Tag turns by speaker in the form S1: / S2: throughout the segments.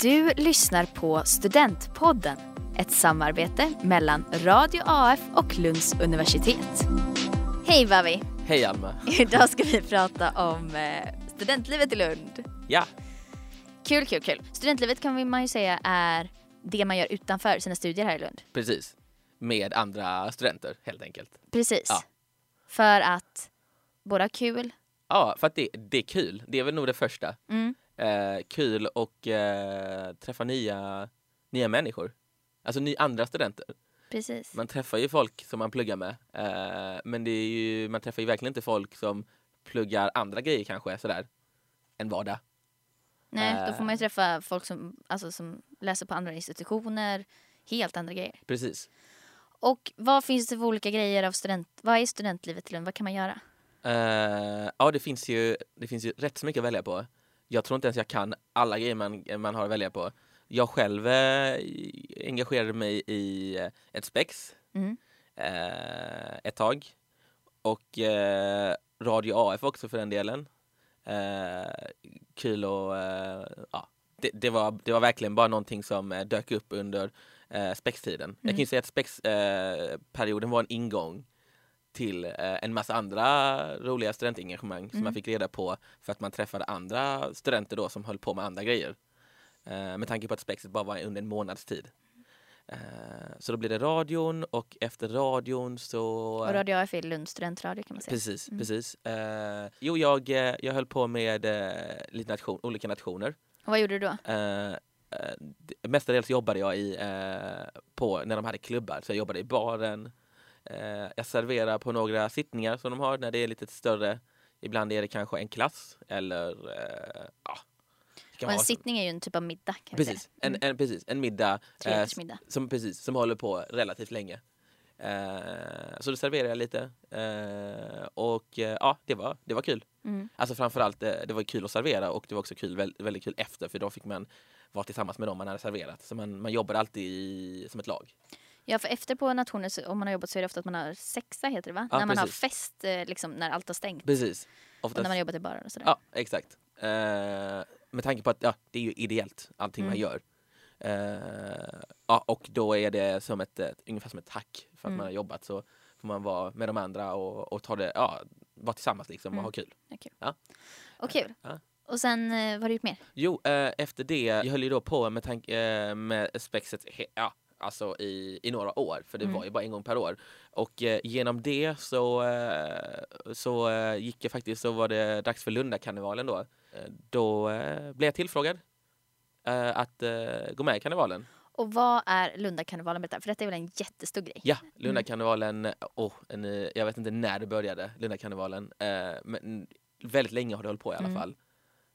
S1: Du lyssnar på Studentpodden, ett samarbete mellan Radio AF och Lunds universitet. Hej Bavi!
S2: Hej Alma!
S1: Idag ska vi prata om eh, studentlivet i Lund.
S2: Ja,
S1: Kul, kul, kul. Studentlivet kan vi- man ju säga är det man gör utanför sina studier här i Lund.
S2: precis. Med andra studenter helt enkelt.
S1: Precis.
S2: Ja.
S1: För att båda har kul.
S2: Ja, för att det, det är kul. Det är väl nog det första.
S1: Mm.
S2: Eh, kul och eh, träffa nya, nya människor. Alltså ny, andra studenter.
S1: Precis.
S2: Man träffar ju folk som man pluggar med. Eh, men det är ju, man träffar ju verkligen inte folk som pluggar andra grejer kanske sådär. En vardag.
S1: Nej, då
S2: Eh.
S1: får man ju träffa folk som, alltså, som läser på andra institutioner. Helt andra grejer.
S2: Precis.
S1: Och vad finns det för olika grejer av student... Vad är studentlivet i Lund? Vad kan man göra?
S2: Eh, ja, det finns, ju, det finns ju rätt så mycket att välja på. Jag tror inte ens jag kan alla grejer man, man har att välja på. Jag själv eh, engagerade mig i eh, ett spex
S1: Mm.
S2: eh, ett tag. Och eh, Radio AF också för den delen. Eh, kul och... Eh, ja. det, det, var, det var verkligen bara någonting som eh, dök upp under eh, spextiden. Jag kan ju säga att spexperioden eh, perioden var en ingång till eh, en massa andra roliga studentengagemang som man fick reda på för att man träffade andra studenter då som höll på med andra grejer. Eh, med tanke på att spexet bara var under en månads tid. Eh, så då blir det radion och efter radion så...
S1: Och Radio AF är Lunds studentradio kan man säga.
S2: eh, Precis, precis. Eh, jo, jag, eh, jag höll på med eh, lite nation, olika nationer.
S1: Och vad gjorde du då?
S2: Eh, eh, d- mestadels jobbade jag i, eh, på, när de hade klubbar, så jag jobbade i baren. Eh, jag serverar på några sittningar som de har när det är lite större. Ibland är det kanske en klass eller eh, ja. det kan
S1: Och en
S2: vara-
S1: sittning är ju en typ av middag kan vi säga. Mm.
S2: Precis, en, en, precis, en middag, eh,
S1: Trerättersmiddag.
S2: som, precis, som håller på relativt länge. Eh, så då serverade jag lite eh, och eh, ja, det var, det var kul.
S1: Mm.
S2: Alltså framförallt, eh, det var kul att servera och det var också kul, väl- väldigt kul efter för då fick man vara tillsammans med dem man hade serverat. Så man, man jobbade alltid i, som ett lag.
S1: Ja, för efter på nationer, så, om man har jobbat så är det ofta att man har sexa heter det va?
S2: Ja,
S1: när man
S2: precis.
S1: har fest, eh, liksom när allt har stängt.
S2: Precis.
S1: Och
S2: Oftast,
S1: när man har jobbat i barer och sådär.
S2: ja, exakt. Eh, med tanke på att ja, det är ju ideellt allting man gör. Eh, ja, och då är det som ett, ett, ungefär som ett tack för att man har jobbat så får man vara med de andra och, och ta det, ja, vara tillsammans liksom och ha kul.
S1: Ja, kul.
S2: Ja.
S1: Och kul.
S2: Ja.
S1: Och sen, eh, vad har du gjort mer?
S2: Jo, eh, efter det, jag höll ju då på med, tank, eh, med spexet he- ja, alltså i, i några år, för det var ju bara en gång per år. Och eh, genom det så, eh, så eh, gick jag faktiskt, så var det dags för Lundakarnevalen då. Eh, Då eh, blev jag tillfrågad eh, att eh, gå med i karnevalen.
S1: Och vad är Lundakarnevalen? Berätta, för detta är väl en jättestor grej?
S2: Ja, Lundakarnevalen, oh, en, eh, jag vet inte när det började, Lundakarnevalen. Eh, men väldigt länge har det hållit på i alla fall.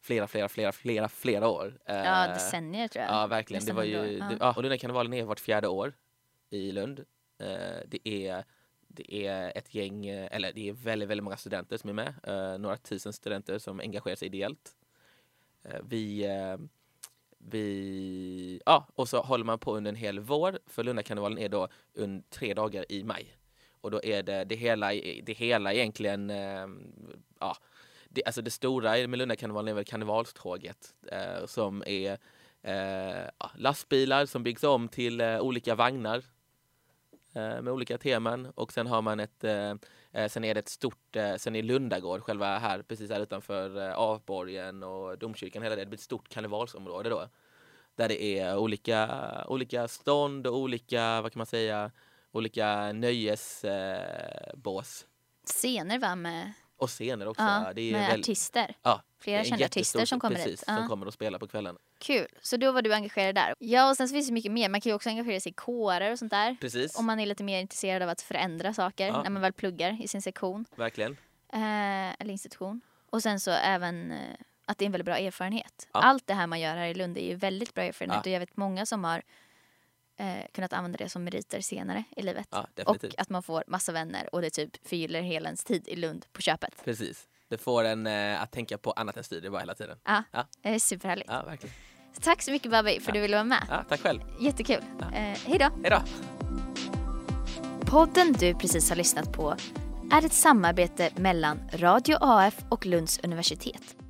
S2: Flera, flera, flera, flera, flera år.
S1: Ja,
S2: Eh,
S1: decennier tror jag.
S2: Ja, verkligen. Det
S1: Nästan
S2: var
S1: hundra
S2: ju,
S1: år.
S2: det,
S1: Ja.
S2: ja, och Lundakarnevalen är vart fjärde år i Lund. Eh, det, är, det är ett gäng, eh, eller det är väldigt, väldigt många studenter som är med. Eh, några tusen studenter som engagerar sig ideellt. Eh, vi, eh, vi, ja, och så håller man på under en hel vår, för Lundakarnevalen är då un, tre dagar i maj. Och då är det, det, hela, det hela egentligen, eh, ja, det, alltså det stora med Lundakarnevalen är väl karnevalståget eh, som är eh, ja, lastbilar som byggs om till eh, olika vagnar eh, med olika teman och sen har man ett, eh, eh, sen är det ett stort, eh, sen är Lundagård själva här precis här utanför eh, Avborgen och domkyrkan, hela det, det blir ett stort karnevalsområde då. Där det är olika, olika stånd och olika, vad kan man säga, olika nöjesbås. Eh, bås.
S1: Scener va? Med,
S2: och scener också.
S1: ja,
S2: det är
S1: med
S2: väl-
S1: artister.
S2: Ja,
S1: Flera
S2: det är en
S1: kända artister
S2: jättestor-
S1: som kommer
S2: precis,
S1: hit. Ja.
S2: som kommer och spelar på kvällen.
S1: Kul. Så då var du engagerad där. Ja, och sen så finns det mycket mer. Man kan ju också engagera sig i kårer och sånt där.
S2: Precis,
S1: Om man är lite mer intresserad av att förändra saker
S2: Ja.
S1: när man väl pluggar i sin sektion
S2: verkligen.
S1: eh, eller institution. Och sen så även eh, att det är en väldigt bra erfarenhet.
S2: Ja.
S1: Allt det här man gör här i Lund är ju väldigt bra erfarenhet
S2: Ja.
S1: och jag vet många som har eh, kunnat använda det som meriter senare i livet.
S2: Ja,
S1: och
S2: definitivt.
S1: att man får massa vänner och det typ förgyller hela ens tid i Lund på köpet.
S2: Precis. Det får en eh, att tänka på annat än studier bara hela tiden.
S1: Ja,
S2: Ja.
S1: det är superhärligt.
S2: Ja, verkligen.
S1: Tack så mycket Babi för att du ville vara med.
S2: Ja, tack själv.
S1: Jättekul.
S2: Ja.
S1: Eh, hej då.
S2: Hej då!
S1: Podden du precis har lyssnat på är ett samarbete mellan Radio AF och Lunds universitet.